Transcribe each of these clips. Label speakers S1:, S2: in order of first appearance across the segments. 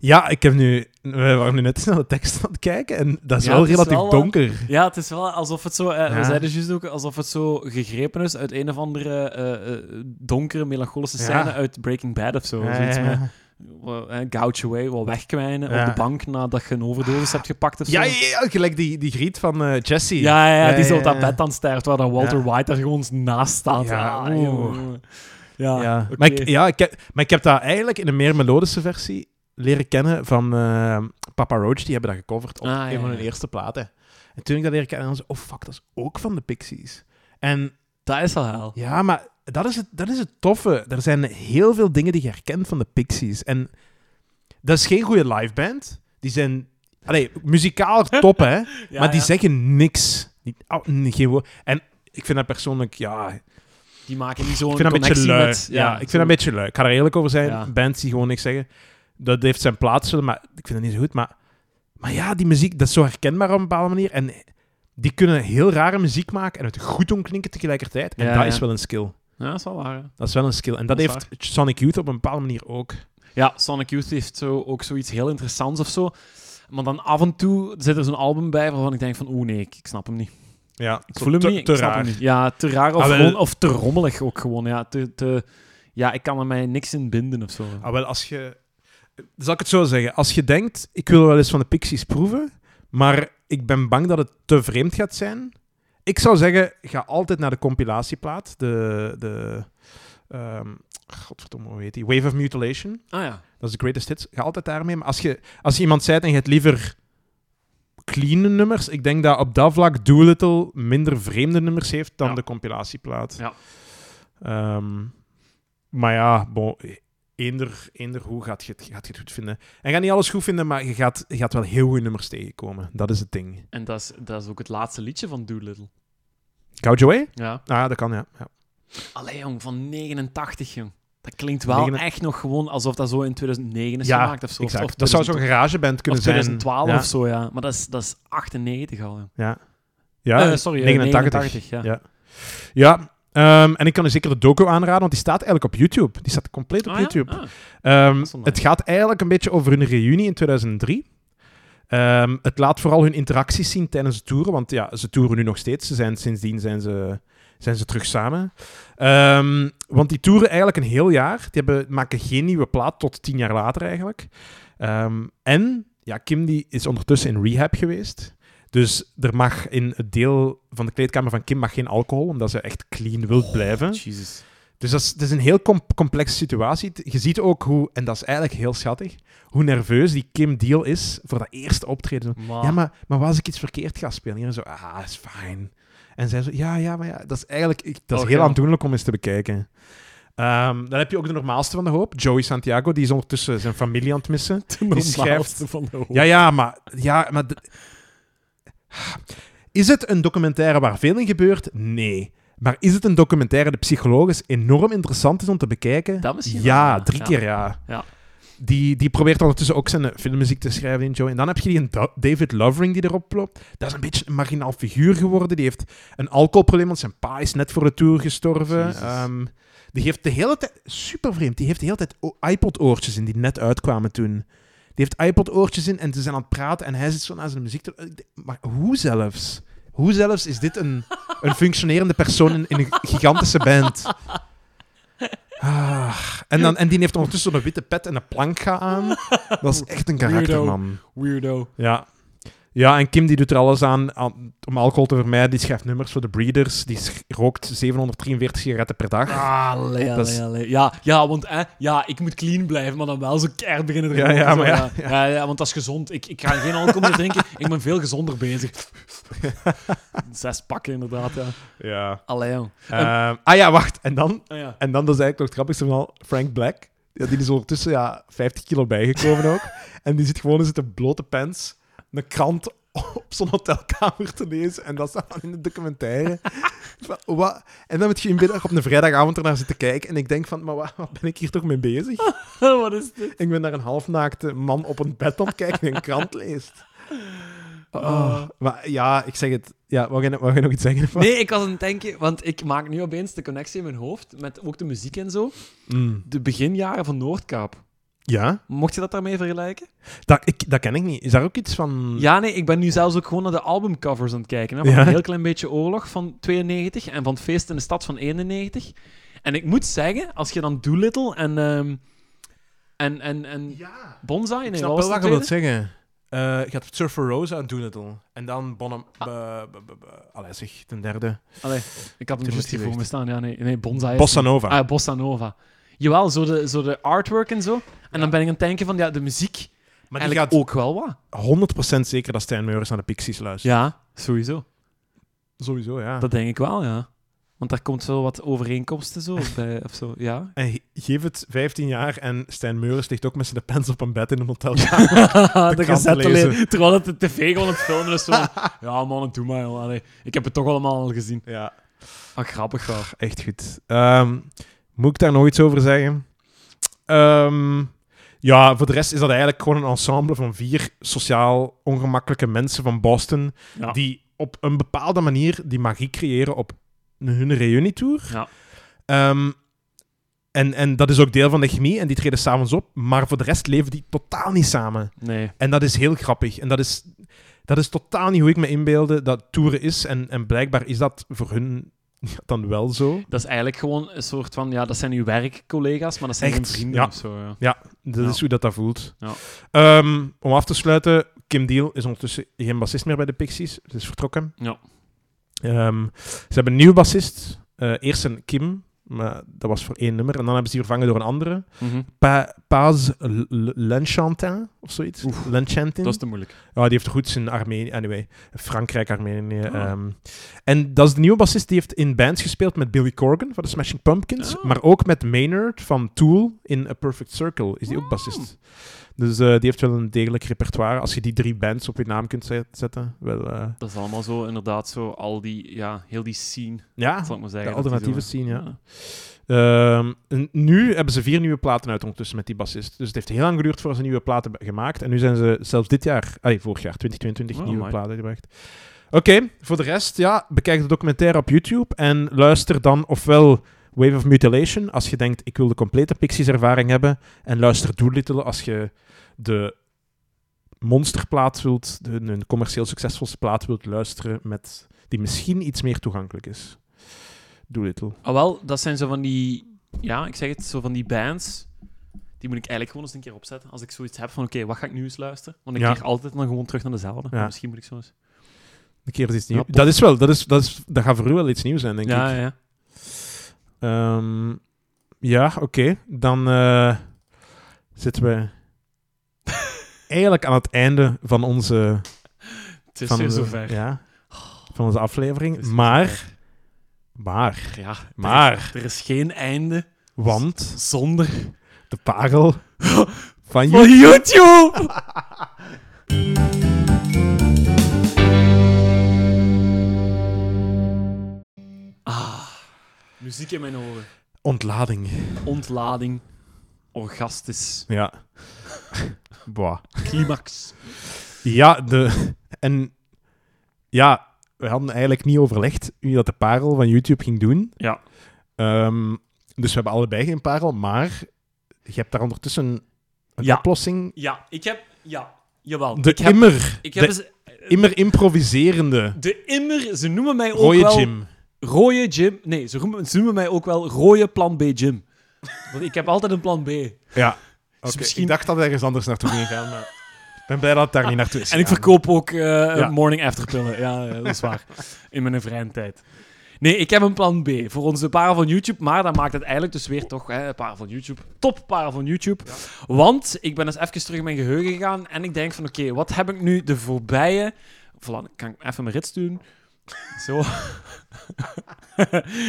S1: Ja, ik heb nu... We waren nu net naar de tekst aan het kijken en dat is
S2: Ja,
S1: wel
S2: het is
S1: relatief
S2: wel eh, wat-
S1: donker.
S2: Ja, het is wel alsof het zo... eh,
S1: Ja.
S2: We zeiden juist ook alsof het zo gegrepen is uit een of andere eh, eh, donkere, melancholische
S1: Ja.
S2: scène uit Breaking Bad of zo.
S1: Ja,
S2: Zoiets
S1: ja,
S2: met
S1: ja.
S2: wat, eh, gouge away, wat wegkwijnen
S1: Ja.
S2: op de bank nadat je een overdosis hebt gepakt of zo.
S1: Ja, ja, ja, gelijk die, die griet van eh, Jesse.
S2: Ja, ja, ja, die zo
S1: ja,
S2: op dat
S1: ja.
S2: bed dan sterft, waar dan Walter
S1: Ja.
S2: White daar gewoon naast staat.
S1: Ja,
S2: Ah,
S1: oeh.
S2: jongen. Ja,
S1: Ja.
S2: oké.
S1: Maar, ik, ja, ik heb, maar ik heb dat eigenlijk in een meer melodische versie leren kennen van eh, Papa Roach. Die hebben dat gecoverd op
S2: Ah, ja,
S1: een van hun
S2: ja.
S1: eerste platen. En toen ik dat leren kennen, dan was ik, oh fuck, dat is ook van de Pixies. En
S2: Dat is al hel.
S1: ja, maar dat is het, dat is het toffe. Er zijn heel veel dingen die je herkent van de Pixies. En dat is geen goede live band. Die zijn... Allee, muzikaal top, hè.
S2: Ja,
S1: maar die
S2: ja.
S1: zeggen niks. Niet, oh, nee, geen woord. En ik vind dat persoonlijk... Ja,
S2: Die maken niet zo'n
S1: ik vind dat een beetje
S2: connectie
S1: lui.
S2: met...
S1: ja, ik vind dat een beetje lui. Ik ga er eerlijk over zijn.
S2: Ja.
S1: Bands die gewoon niks zeggen. Dat heeft zijn plaats, maar ik vind dat niet zo goed. Maar, maar ja, die muziek, dat is zo herkenbaar op een bepaalde manier. En die kunnen heel rare muziek maken en het goed omklinken tegelijkertijd. En
S2: Ja,
S1: dat
S2: ja.
S1: is wel een skill.
S2: Ja, dat is wel waar. hè.
S1: Dat is wel een skill. En dat,
S2: Dat is
S1: heeft Sonic Youth op een bepaalde manier ook.
S2: Ja, Sonic Youth heeft zo, ook zoiets heel interessants of zo. Maar dan af en toe zit er zo'n album bij waarvan ik denk van... Oeh, nee, ik, ik snap hem niet.
S1: Ja,
S2: Ik voel hem
S1: te,
S2: niet,
S1: te
S2: ik snap
S1: raar.
S2: hem niet. Ja, te raar of,
S1: Ah, wel.
S2: gewoon, of te rommelig ook gewoon. Ja, te, te, ja, ik kan er mij niks in binden of zo.
S1: Ah, wel, als je... Zal ik het zo zeggen? Als je denkt, ik wil wel eens van de Pixies proeven, maar ik ben bang dat het te vreemd gaat zijn. Ik zou zeggen, ga altijd naar de compilatieplaat. De... de ehm, godverdomme, hoe heet die? Wave of Mutilation.
S2: Ah ja.
S1: Dat is de greatest hits. Ga altijd daarmee. Maar als je, als je iemand zei en je hebt liever clean nummers, ik denk dat op dat vlak Doolittle minder vreemde nummers heeft dan
S2: Ja.
S1: de compilatieplaat.
S2: Ja.
S1: Ehm, maar ja, bon, eender, eender hoe gaat je, het, gaat je het goed vinden. En je gaat niet alles goed vinden, maar je gaat, je gaat wel heel goede nummers tegenkomen. Dat is het ding.
S2: En dat is, dat is ook het laatste liedje van Doolittle.
S1: Gouge Away?
S2: Ja.
S1: Ah, dat kan, ja. ja.
S2: Allee, jong, van 89, jong. Dat klinkt wel
S1: Negen-
S2: echt nog gewoon alsof dat zo in 2009 is
S1: Ja,
S2: gemaakt of zo. Of-
S1: Exact.
S2: Of,
S1: dat zou zo'n garageband kunnen
S2: of 2012
S1: zijn.
S2: of zo, ja. Maar dat is, dat is 98 al, jong. Ah,
S1: Ja. ja. ja.
S2: Eh, sorry, eh,
S1: 89.
S2: 89, ja.
S1: Ja. Ja, ehm, en ik kan je zeker de docu aanraden, want die staat eigenlijk op YouTube. Die staat compleet op
S2: Ah, ja?
S1: YouTube.
S2: Ah.
S1: Ehm,
S2: dat is wel
S1: het gaat eigenlijk een beetje over hun reunie in 2003. Ehm, het laat vooral hun interacties zien tijdens de toeren, want ja, ze toeren nu nog steeds. Ze zijn, sindsdien zijn ze, zijn ze terug samen. Ehm, want die toeren eigenlijk een heel jaar. Die hebben, maken geen nieuwe plaat tot tien jaar later eigenlijk. Ehm, en ja, Kim die is ondertussen in rehab geweest. Dus er mag in het deel van de kleedkamer van Kim mag geen alcohol, omdat ze echt clean wil blijven.
S2: Jesus.
S1: Dus dat is, het is een heel com- complexe situatie. T- Je ziet ook hoe, en dat is eigenlijk heel schattig, hoe nerveus die Kim Deal is voor dat eerste optreden.
S2: Maar,
S1: Ja, maar, maar was ik iets verkeerd ga spelen? En zo, ah, is fijn. En zij zo, ja, ja, maar ja, dat is eigenlijk ik- dat is
S2: Oh,
S1: heel
S2: ja.
S1: aandoenlijk om eens te bekijken. Ehm, dan heb je ook de normaalste van de hoop, Joey Santiago, die is ondertussen zijn familie aan het missen.
S2: die
S1: schrijft-
S2: van de hoop.
S1: Ja, ja, maar... Ja, maar de- Is het een documentaire waar veel in gebeurt? Nee. Maar is het een documentaire die psychologisch enorm interessant is om te bekijken?
S2: Dat misschien wel,
S1: ja,
S2: ja.
S1: drie
S2: Ja.
S1: keer ja.
S2: Ja.
S1: Die, die probeert ondertussen ook zijn eh, filmmuziek te schrijven in Joe. En dan heb je die een Da- David Lovering die erop loopt. Dat is een beetje een marginaal figuur geworden. Die heeft een alcoholprobleem, want zijn pa is net voor de tour gestorven.
S2: Jezus.
S1: Ehm, die heeft de hele tijd... Super vreemd. Die heeft de hele tijd o- iPod-oortjes in die net uitkwamen toen. Die heeft iPod-oortjes in en ze zijn aan het praten en hij zit zo naar zijn muziek te... Ik denk, Maar hoe zelfs? Hoe zelfs is dit een, een functionerende persoon in, in een gigantische band? Ah, en, dan, en die heeft ondertussen een witte pet en een planka aan. Dat is echt een karakter,
S2: Weirdo.
S1: man.
S2: Weirdo.
S1: Ja. Ja, en Kim die doet er alles aan, aan om alcohol te vermijden. Die schrijft nummers voor de Breeders. Die sch- rookt 743 sigaretten per dag.
S2: Ah. Allee,
S1: Dat is-
S2: allee, allee. Ja, ja, want eh, ja, ik moet clean blijven, maar dan wel zo keihard beginnen te
S1: Ja,
S2: roken,
S1: ja,
S2: zo,
S1: maar ja,
S2: ja. Ja, ja, want dat is gezond. Ik, ik ga geen alcohol meer drinken. Ik ben veel gezonder bezig. Zes pakken, inderdaad, ja.
S1: Ja.
S2: Allee, jong.
S1: Ehm, ah ja, wacht. En dan,
S2: Ah, ja.
S1: En dan, dat is eigenlijk nog het grappigste van al, Frank Black. Ja, die is ondertussen ja, 50 kilo bijgekomen ook. En die zit gewoon in zijn blote pants een krant op zijn hotelkamer te lezen. En dat staat dan in de documentaire. Wa- wa- En dan moet je in middag op een vrijdagavond ernaar zitten kijken. En ik denk van, maar wa- wat ben ik hier toch mee bezig?
S2: Wat is dit?
S1: Ik ben naar een halfnaakte man op een bed aan het kijken die een krant leest. Oh, maar ja, ik zeg het. Ja, wou je, wou jij nog iets zeggen? ervan?
S2: Nee, ik was aan het denken, want ik maak nu opeens de connectie in mijn hoofd met ook de muziek en zo.
S1: Mm.
S2: De beginjaren van Noordkaap.
S1: Ja,
S2: Mocht je dat daarmee vergelijken?
S1: dat, ik, dat ken ik niet. Is daar ook iets van...
S2: Ja, nee, ik ben nu zelfs ook gewoon naar de albumcovers aan het kijken. Hè, van
S1: Hm. Ja.
S2: een heel klein beetje oorlog van 92 en van het feest in de stad van 91. En ik moet zeggen, als je dan Doolittle en... ehm, en, en, en
S1: Ja.
S2: Bonsai...
S1: Ik
S2: nee,
S1: snap
S2: wat
S1: wel
S2: was
S1: wat
S2: de
S1: je wilt
S2: tweede?
S1: zeggen. Eh je had Surfer Rose aan doen het al. En dan Bonham...
S2: Ah.
S1: be- be- be- be- Allee, zeg, ten derde.
S2: Allee, ik had hem
S1: Toen
S2: juist
S1: is die
S2: hier voor me
S1: geweest.
S2: staan. Ja, nee, nee Bonsai is-
S1: Bossa Nova.
S2: Ah, Bossa Nova. Jawel, zo de, zo de artwork en zo. En dan ben ik aan het denken van, ja, de muziek
S1: maar die
S2: eigenlijk
S1: gaat
S2: ook wel wat.
S1: 100% zeker dat Stijn Meuris naar de Pixies luistert.
S2: Ja, sowieso.
S1: Sowieso, ja.
S2: Dat denk ik wel, ja. Want daar komt zo wat overeenkomsten zo bij, of zo, ja.
S1: En ge- geef het 15 jaar en Stijn Meuris ligt ook met zijn pens op een bed in een hotel.
S2: de
S1: krant
S2: gazette
S1: lezen.
S2: alleen. Terwijl het de tv gewoon aan het filmen is. Zo van, ja, man, doe maar. joh. Allee, ik heb het toch allemaal al gezien.
S1: Ja,
S2: Ah, grappig wel.
S1: echt goed. Ehm, moet ik daar nog iets over zeggen? Ehm, ja, voor de rest is dat eigenlijk gewoon een ensemble van vier sociaal ongemakkelijke mensen van Boston.
S2: Ja.
S1: Die op een bepaalde manier die magie creëren op hun reunietour.
S2: Ja.
S1: Ehm, en, en dat is ook deel van de chemie. En die treden s'avonds op. Maar voor de rest leven die totaal niet samen.
S2: Nee.
S1: En dat is heel grappig. En dat is, dat is totaal niet hoe ik me inbeelde dat toeren is. En, en blijkbaar is dat voor hun dan wel zo.
S2: Dat is eigenlijk gewoon een soort van, ja, dat zijn uw werkcollega's, maar dat zijn
S1: Echt,
S2: geen vrienden
S1: ja.
S2: of zo. Ja.
S1: Dat
S2: Ja.
S1: is hoe dat, dat voelt.
S2: Ja.
S1: Ehm, om af te sluiten, Kim Deal is ondertussen geen bassist meer bij de Pixies. Ze is vertrokken.
S2: Ja.
S1: Ehm, ze hebben een nieuwe bassist. Eh, eerst een Kim, maar dat was voor één nummer. En dan hebben ze die vervangen door een andere.
S2: Mhm.
S1: Pa Paz L- L- Lenchantin of zoiets.
S2: Oef.
S1: Lenchantin.
S2: Dat is te moeilijk.
S1: Ja, die heeft roots in Armenië. Anyway, Frankrijk, Armenië.
S2: Ah.
S1: ehm. en dat is de nieuwe bassist. Die heeft in bands gespeeld met Billy Corgan van de Smashing Pumpkins.
S2: Ah.
S1: Maar ook met Maynard van Tool in A Perfect Circle. Is die ook
S2: Ah.
S1: bassist. Dus eh, die heeft wel een degelijk repertoire. Als je die drie bands op je naam kunt zet- zetten. Wel, eh,
S2: Dat is allemaal zo, inderdaad, zo al die, ja, heel die scene,
S1: ja,
S2: zal ik maar
S1: de
S2: zeggen. dat die
S1: alternatieve
S2: zo-
S1: scene, ja. Ehm, en nu hebben ze vier nieuwe platen uit ondertussen met die bassist. Dus het heeft heel lang geduurd voordat ze nieuwe platen hebben gemaakt. En nu zijn ze zelfs dit jaar, ah, vorig jaar, 2022,
S2: Oh,
S1: nieuwe
S2: amai.
S1: platen gebracht. Oké, voor de rest, ja, bekijk de documentaire op YouTube en luister dan ofwel Wave of Mutilation als je denkt, ik wil de complete Pixies-ervaring hebben. En luister Doolittle als je de monsterplaat wilt, de, een commercieel succesvolste plaat wilt luisteren met, die misschien iets meer toegankelijk is. Doolittle.
S2: Ah, wel, dat zijn zo van die, ja, ik zeg het, zo van die bands. Die moet ik eigenlijk gewoon eens een keer opzetten. Als ik zoiets heb van, oké, wat ga ik nu eens luisteren? Want ik
S1: Ja.
S2: keer altijd dan gewoon terug naar dezelfde.
S1: Ja.
S2: Misschien moet ik zo eens.
S1: Een keer is iets nieuws.
S2: Ja,
S1: dat is wel, dat, is, dat, is, dat gaat voor u wel iets nieuws zijn, denk
S2: ja,
S1: ik.
S2: ja.
S1: Ehm, ja, oké. Dan eh, zitten we eigenlijk aan het einde van onze,
S2: Het is
S1: van
S2: weer
S1: onze-
S2: zover. Oh.
S1: Ja, van onze aflevering.
S2: Het is
S1: Maar,
S2: zover.
S1: maar,
S2: Ja, er-
S1: maar,
S2: Er, is geen einde
S1: want
S2: zonder...
S1: de parel van
S2: Van YouTube! ah, muziek in mijn oren.
S1: ontlading.
S2: Ontlading. Orgastisch.
S1: Ja. Boah.
S2: Climax.
S1: Ja, de, en ja, we hadden eigenlijk niet overlegd wie dat de parel van YouTube ging doen.
S2: Ja.
S1: Ehm, dus we hebben allebei geen parel, maar je hebt daar ondertussen een
S2: Ja.
S1: oplossing.
S2: Ja, ik heb... Ja, jawel.
S1: De
S2: ik heb,
S1: immer,
S2: ik heb
S1: de-
S2: eens-
S1: immer improviserende
S2: de immer... Ze noemen mij ook
S1: rode
S2: wel...
S1: Jim.
S2: Rooie Jim. Nee, ze noemen, ze noemen mij ook wel rooie plan B Jim. Want ik heb altijd een plan B.
S1: Ja. Oké,
S2: Dus misschien- Ah,
S1: Ik dacht dat we ergens anders naartoe ging gaan, maar ik ben blij dat het daar niet naartoe is
S2: En ik
S1: gegaan.
S2: verkoop ook eh, morning after pillen. Ja, ja, dat is waar. In mijn vrije tijd. Nee, ik heb een plan B voor onze paren van YouTube. Maar dat maakt het eigenlijk dus weer toch hè, paren van YouTube. Top paren van YouTube. Want ik ben eens even terug in mijn geheugen gegaan. En ik denk van oké, wat heb ik nu de voorbije... Voilà, kan ik even mijn rits doen? Zo.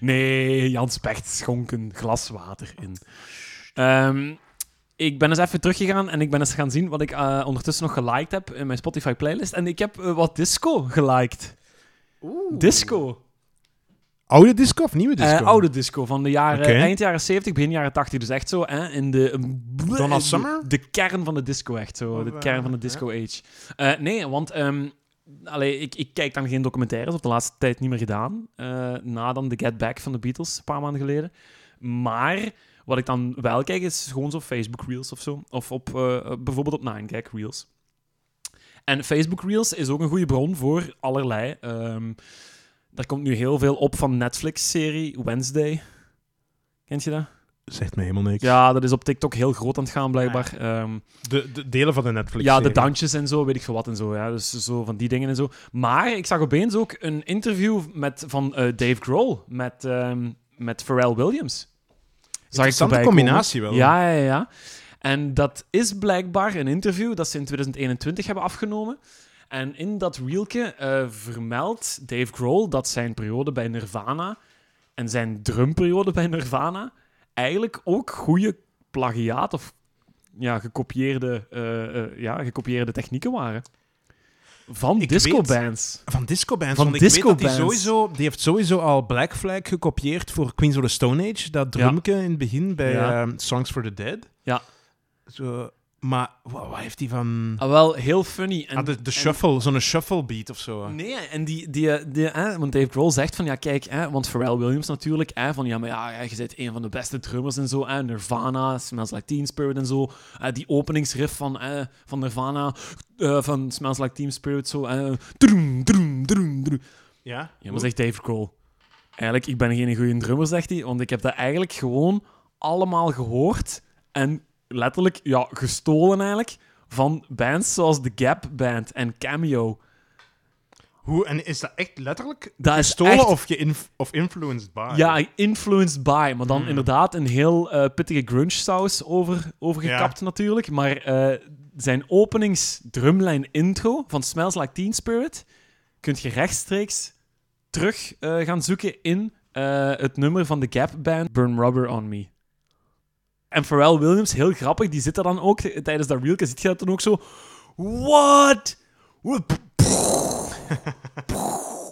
S2: nee, Jans Pecht schonk een glas water in. Ehm, ik ben eens even teruggegaan en ik ben eens gaan zien wat ik eh, ondertussen nog geliked heb in mijn Spotify playlist. En ik heb eh, wat disco geliked. Disco.
S1: Oude disco of nieuwe disco?
S2: Eh, oude disco van de jaren,
S1: Oké.
S2: eind jaren 70, begin jaren 80. Dus echt zo, hè, in de...
S1: Donna
S2: de-
S1: Summer?
S2: De, kern van de disco, echt zo.
S1: Of,
S2: Oh, de
S1: eh,
S2: kern van de disco age. Eh, nee, want... ehm, allee, ik, ik kijk dan geen documentaires, of de laatste tijd niet meer gedaan. eh, na dan The Get Back van de Beatles, een paar maanden geleden. Maar Wat ik dan wel kijk, is gewoon zo Facebook Reels of zo. Of op, eh, bijvoorbeeld op 9gag Reels. En Facebook Reels is ook een goede bron voor allerlei. ehm daar komt nu heel veel op van Netflix-serie Wednesday. Kent je dat?
S1: Zegt me helemaal niks.
S2: Ja, dat is op TikTok heel groot aan het gaan, blijkbaar.
S1: Ah,
S2: Ehm,
S1: De, de delen van de Netflix.
S2: ja, de dansjes en zo, weet ik veel wat en zo. Ja. Dus zo van die dingen en zo. Maar ik zag opeens ook een interview met, van eh, Dave Grohl met, ehm, met Pharrell Williams. Zag ik
S1: Interessante
S2: voorbij komen.
S1: combinatie wel.
S2: Ja, ja, ja. En dat is blijkbaar een interview dat ze in 2021 hebben afgenomen. En in dat wielke vermeldt Dave Grohl dat zijn periode bij Nirvana en zijn drumperiode bij Nirvana eigenlijk ook goede plagiaat of ja, gekopieerde, eh, eh, ja, gekopieerde technieken waren. Van
S1: Ik
S2: disco
S1: weet-
S2: bands.
S1: Van disco bands.
S2: Van
S1: want ik
S2: disco
S1: weet dat die,
S2: bands.
S1: sowieso, die heeft sowieso al Black Flag gekopieerd voor Queens of the Stone Age. Dat
S2: Ja.
S1: drumke in het begin bij
S2: Ja.
S1: ehm, Songs for the Dead.
S2: Ja.
S1: Zo, maar wa- wat heeft die van...
S2: Ah, wel heel funny. En,
S1: ah, de, de
S2: en-
S1: shuffle, zo'n shuffle beat of zo.
S2: Nee, en die, die, die, hè, want Dave Grohl zegt van ja, kijk, hè, want Pharrell Williams natuurlijk, hè, van ja, maar ja, ja, je bent een van de beste drummers en zo, hè, Nirvana, Smells Like Teen Spirit en zo, hè, die openingsriff van, hè, van Nirvana, eh, van Smells Like Teen Spirit, zo, hè, droem, droem, droem, droem.
S1: Ja?
S2: Ja, maar zegt Dave Grohl, eigenlijk, ik ben geen goede drummer, zegt hij, want ik heb dat eigenlijk gewoon allemaal gehoord en letterlijk, ja, gestolen eigenlijk, van bands zoals The Gap Band en Cameo.
S1: Hoe, en is dat echt letterlijk
S2: Dat is
S1: gestolen
S2: echt
S1: of, geïnf- of influenced by?
S2: Ja, influenced by. Maar dan
S1: Hmm.
S2: inderdaad een heel eh, pittige grunge-saus over, overgekapt natuurlijk. Maar eh, zijn openings-drumlijn-intro van Smells Like Teen Spirit kunt je rechtstreeks terug eh, gaan zoeken in eh, het nummer van de Gap Band Burn Rubber On Me. En Pharrell Williams, heel grappig, die zit er dan ook eh, tijdens dat reelke, zit je dat dan ook zo... What?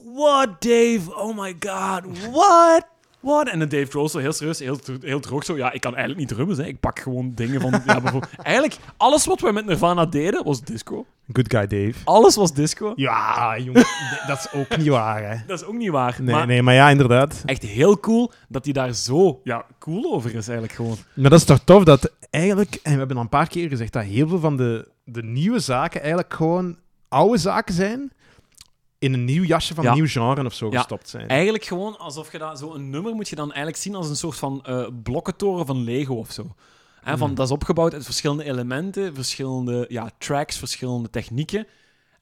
S2: What, Dave? Oh my god, what? What? En dan Dave Grohl zo heel serieus, heel, heel droog zo. Ja, ik kan eigenlijk niet drummen, hè. ik pak gewoon dingen van... Ja, bijvoorbeeld- eigenlijk, alles wat wij met Nirvana deden, was disco.
S1: Good guy Dave.
S2: Alles was disco.
S1: Ja, jongen, d- dat is ook niet waar, hè.
S2: Dat is ook niet waar.
S1: Nee,
S2: maar
S1: nee, maar ja, inderdaad.
S2: echt heel cool dat hij daar zo ja, cool over is eigenlijk gewoon.
S1: Maar dat is toch tof dat eigenlijk, en we hebben al een paar keer gezegd, dat heel veel van de, de nieuwe zaken eigenlijk gewoon oude zaken zijn. In een nieuw jasje van
S2: Ja.
S1: een nieuw genre of zo
S2: Ja.
S1: gestopt zijn.
S2: Eigenlijk gewoon alsof je dat, zo'n nummer moet je dan eigenlijk zien als een soort van eh, blokkentoren van Lego of zo. Hè, van, Dat is opgebouwd uit verschillende elementen, verschillende ja, tracks, verschillende technieken.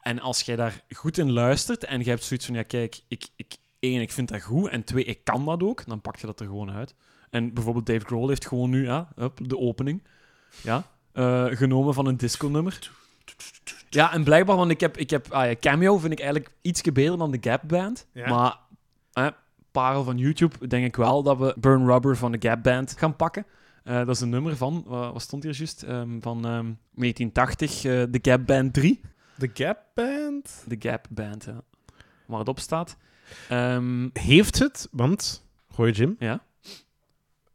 S2: En als jij daar goed in luistert en je hebt zoiets van, ja kijk, ik, ik, één, ik vind dat goed en twee, ik kan dat ook, dan pak je dat er gewoon uit. En bijvoorbeeld Dave Grohl heeft gewoon nu ja, hup, de opening ja, eh, genomen van een disco-nummer. Ja, en blijkbaar, want ik heb, ik heb ah ja, Cameo vind ik eigenlijk ietsje beter dan de Gap Band.
S1: Ja.
S2: Maar eh, parel van YouTube denk ik wel dat we Burn Rubber van de Gap Band gaan pakken. Eh, dat is een nummer van, wa- wat stond hier juist? Ehm, van ehm 1980, eh, de Gap Band 3.
S1: De Gap Band
S2: De Gap Band, ja. Waar het op staat. Ehm,
S1: heeft het, want, gooi Jim,
S2: ja.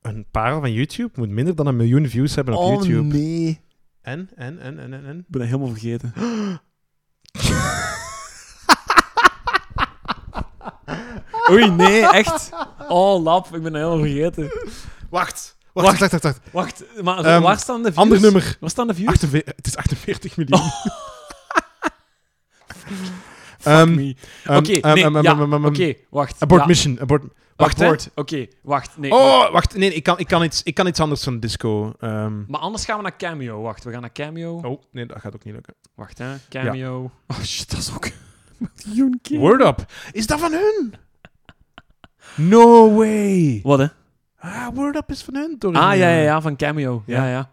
S1: een parel van YouTube moet minder dan een miljoen views hebben
S2: Oh,
S1: op Oh, YouTube.
S2: nee. Ik
S1: En, en, en, en, en, en.
S2: ben dat helemaal vergeten. Oei, nee, echt. Oh, lap, ik ben dat helemaal vergeten.
S1: Wacht, wacht,
S2: Wacht.
S1: wacht, wacht. wacht.
S2: Wacht, maar
S1: Ehm,
S2: waar staan de views? Oh.
S1: Ander nummer.
S2: Waar staan de views?
S1: 48 het is 48 miljoen.
S2: Fuck
S1: Ehm,
S2: me.
S1: Ehm,
S2: Oké,
S1: ehm,
S2: nee,
S1: ehm,
S2: ja,
S1: ehm, ehm, ehm,
S2: Oké, wacht.
S1: Abort
S2: Ja,
S1: mission, abort. Wacht, hè.
S2: abort. Oké, wacht. Nee, wacht.
S1: Oh, wacht, nee, ik kan, ik kan, iets, ik kan iets anders dan disco. ehm.
S2: Maar anders gaan we naar Cameo. Wacht, we gaan naar Cameo.
S1: Oh, nee, dat gaat ook niet lukken.
S2: Wacht, hè. Cameo. Oh shit, dat is ook... een miljoen keer.
S1: Word Up. Is dat van hun? No way.
S2: Wat, hè?
S1: Ah, Word Up is van hun. Door
S2: Ah, ja, ja, ja, van Cameo. Ja, ja.
S1: Ja.
S2: Ja,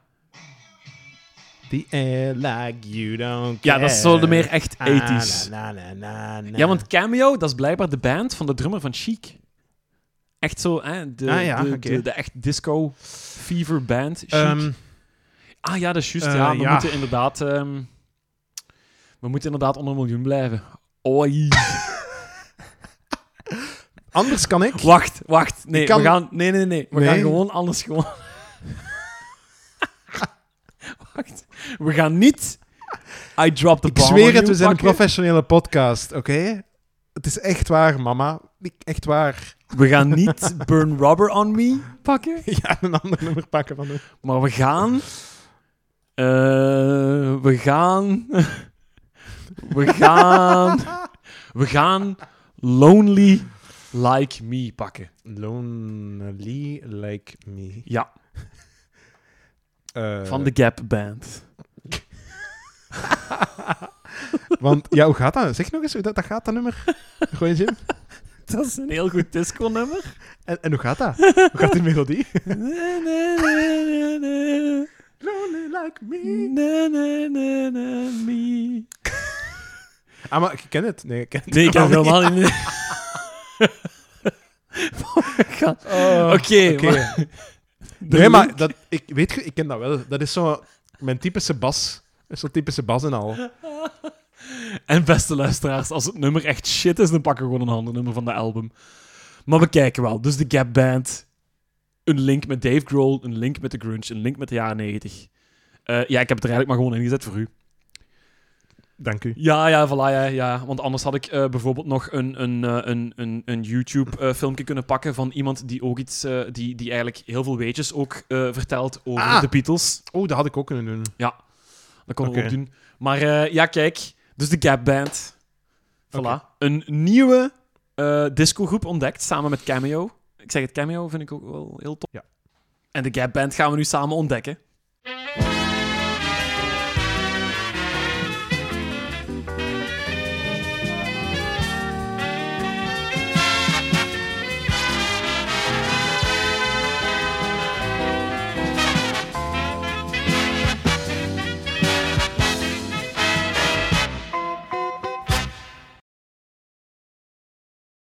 S1: The air eh, like you don't Ah,
S2: dat is zo de meer echt 80s. Ja, want Cameo, dat is blijkbaar de band van de drummer van Chic. Echt zo, hè? De,
S1: Ah, ja,
S2: de,
S1: oké. Ehm,
S2: de, de echt disco fever band. Chic. ah ja, dat is juist.
S1: eh,
S2: ja, we
S1: ja.
S2: moeten inderdaad... ehm, we moeten inderdaad onder een miljoen blijven. Oei.
S1: anders kan ik.
S2: Wacht, wacht. Nee,
S1: Ik kan-
S2: we gaan... Nee, nee, nee. We
S1: Nee.
S2: gaan gewoon anders gewoon... wacht. We gaan niet... I drop the
S1: Ik
S2: bomb on
S1: zweer het,
S2: you
S1: we zijn een
S2: pakken.
S1: professionele podcast, oké? Het is echt waar, mama. Ik- Echt waar.
S2: We gaan niet Burn Rubber on Me pakken,
S1: Ja, een ander nummer pakken van de...
S2: maar we gaan. eh, we gaan. We gaan. We gaan Lonely Like Me pakken.
S1: Lonely Like Me.
S2: Ja,
S1: Eh,
S2: van de Gap Band.
S1: Want, ja, hoe gaat dat? Zeg nog eens hoe dat, dat gaat, dat nummer. Goeie zin.
S2: Dat is een heel goed disco-nummer.
S1: En, en hoe gaat dat? Hoe gaat die melodie? Lonely Like Ah, maar ik ken het. Nee, ik ken het.
S2: Nee, ik heb
S1: helemaal niet.
S2: helemaal niet. Oké,
S1: Oh,
S2: maar- de
S1: Nee, maar
S2: link-
S1: dat, ik, weet, je, ik ken dat wel. Dat is zo mijn typische bas. Dat is Zo'n typische bas en al.
S2: En beste luisteraars, als het nummer echt shit is, dan pakken we gewoon een ander nummer van de album. Maar we kijken wel. Dus de Gap Band. Een link met Dave Grohl, een link met de grunge, een link met de jaren 90. Eh, ja, ik heb het er eigenlijk maar gewoon ingezet voor u.
S1: Dank u.
S2: Ja, ja, voilà, ja, ja. Want anders had ik eh, bijvoorbeeld nog een, een, eh, een, een, een YouTube-filmpje kunnen pakken van iemand die ook iets, eh, die, die eigenlijk heel veel weetjes ook eh, vertelt over
S1: Ah.
S2: de Beatles.
S1: Oh, dat had ik ook kunnen doen.
S2: Dat kon ik
S1: Oké.
S2: ook doen. Maar eh, ja, kijk. Dus de Gap Band. Voilà.
S1: Oké.
S2: Een nieuwe eh discogroep ontdekt samen met Cameo. Ik zeg het, Cameo vind ik ook wel heel tof.
S1: Ja.
S2: En de Gap Band gaan we nu samen ontdekken.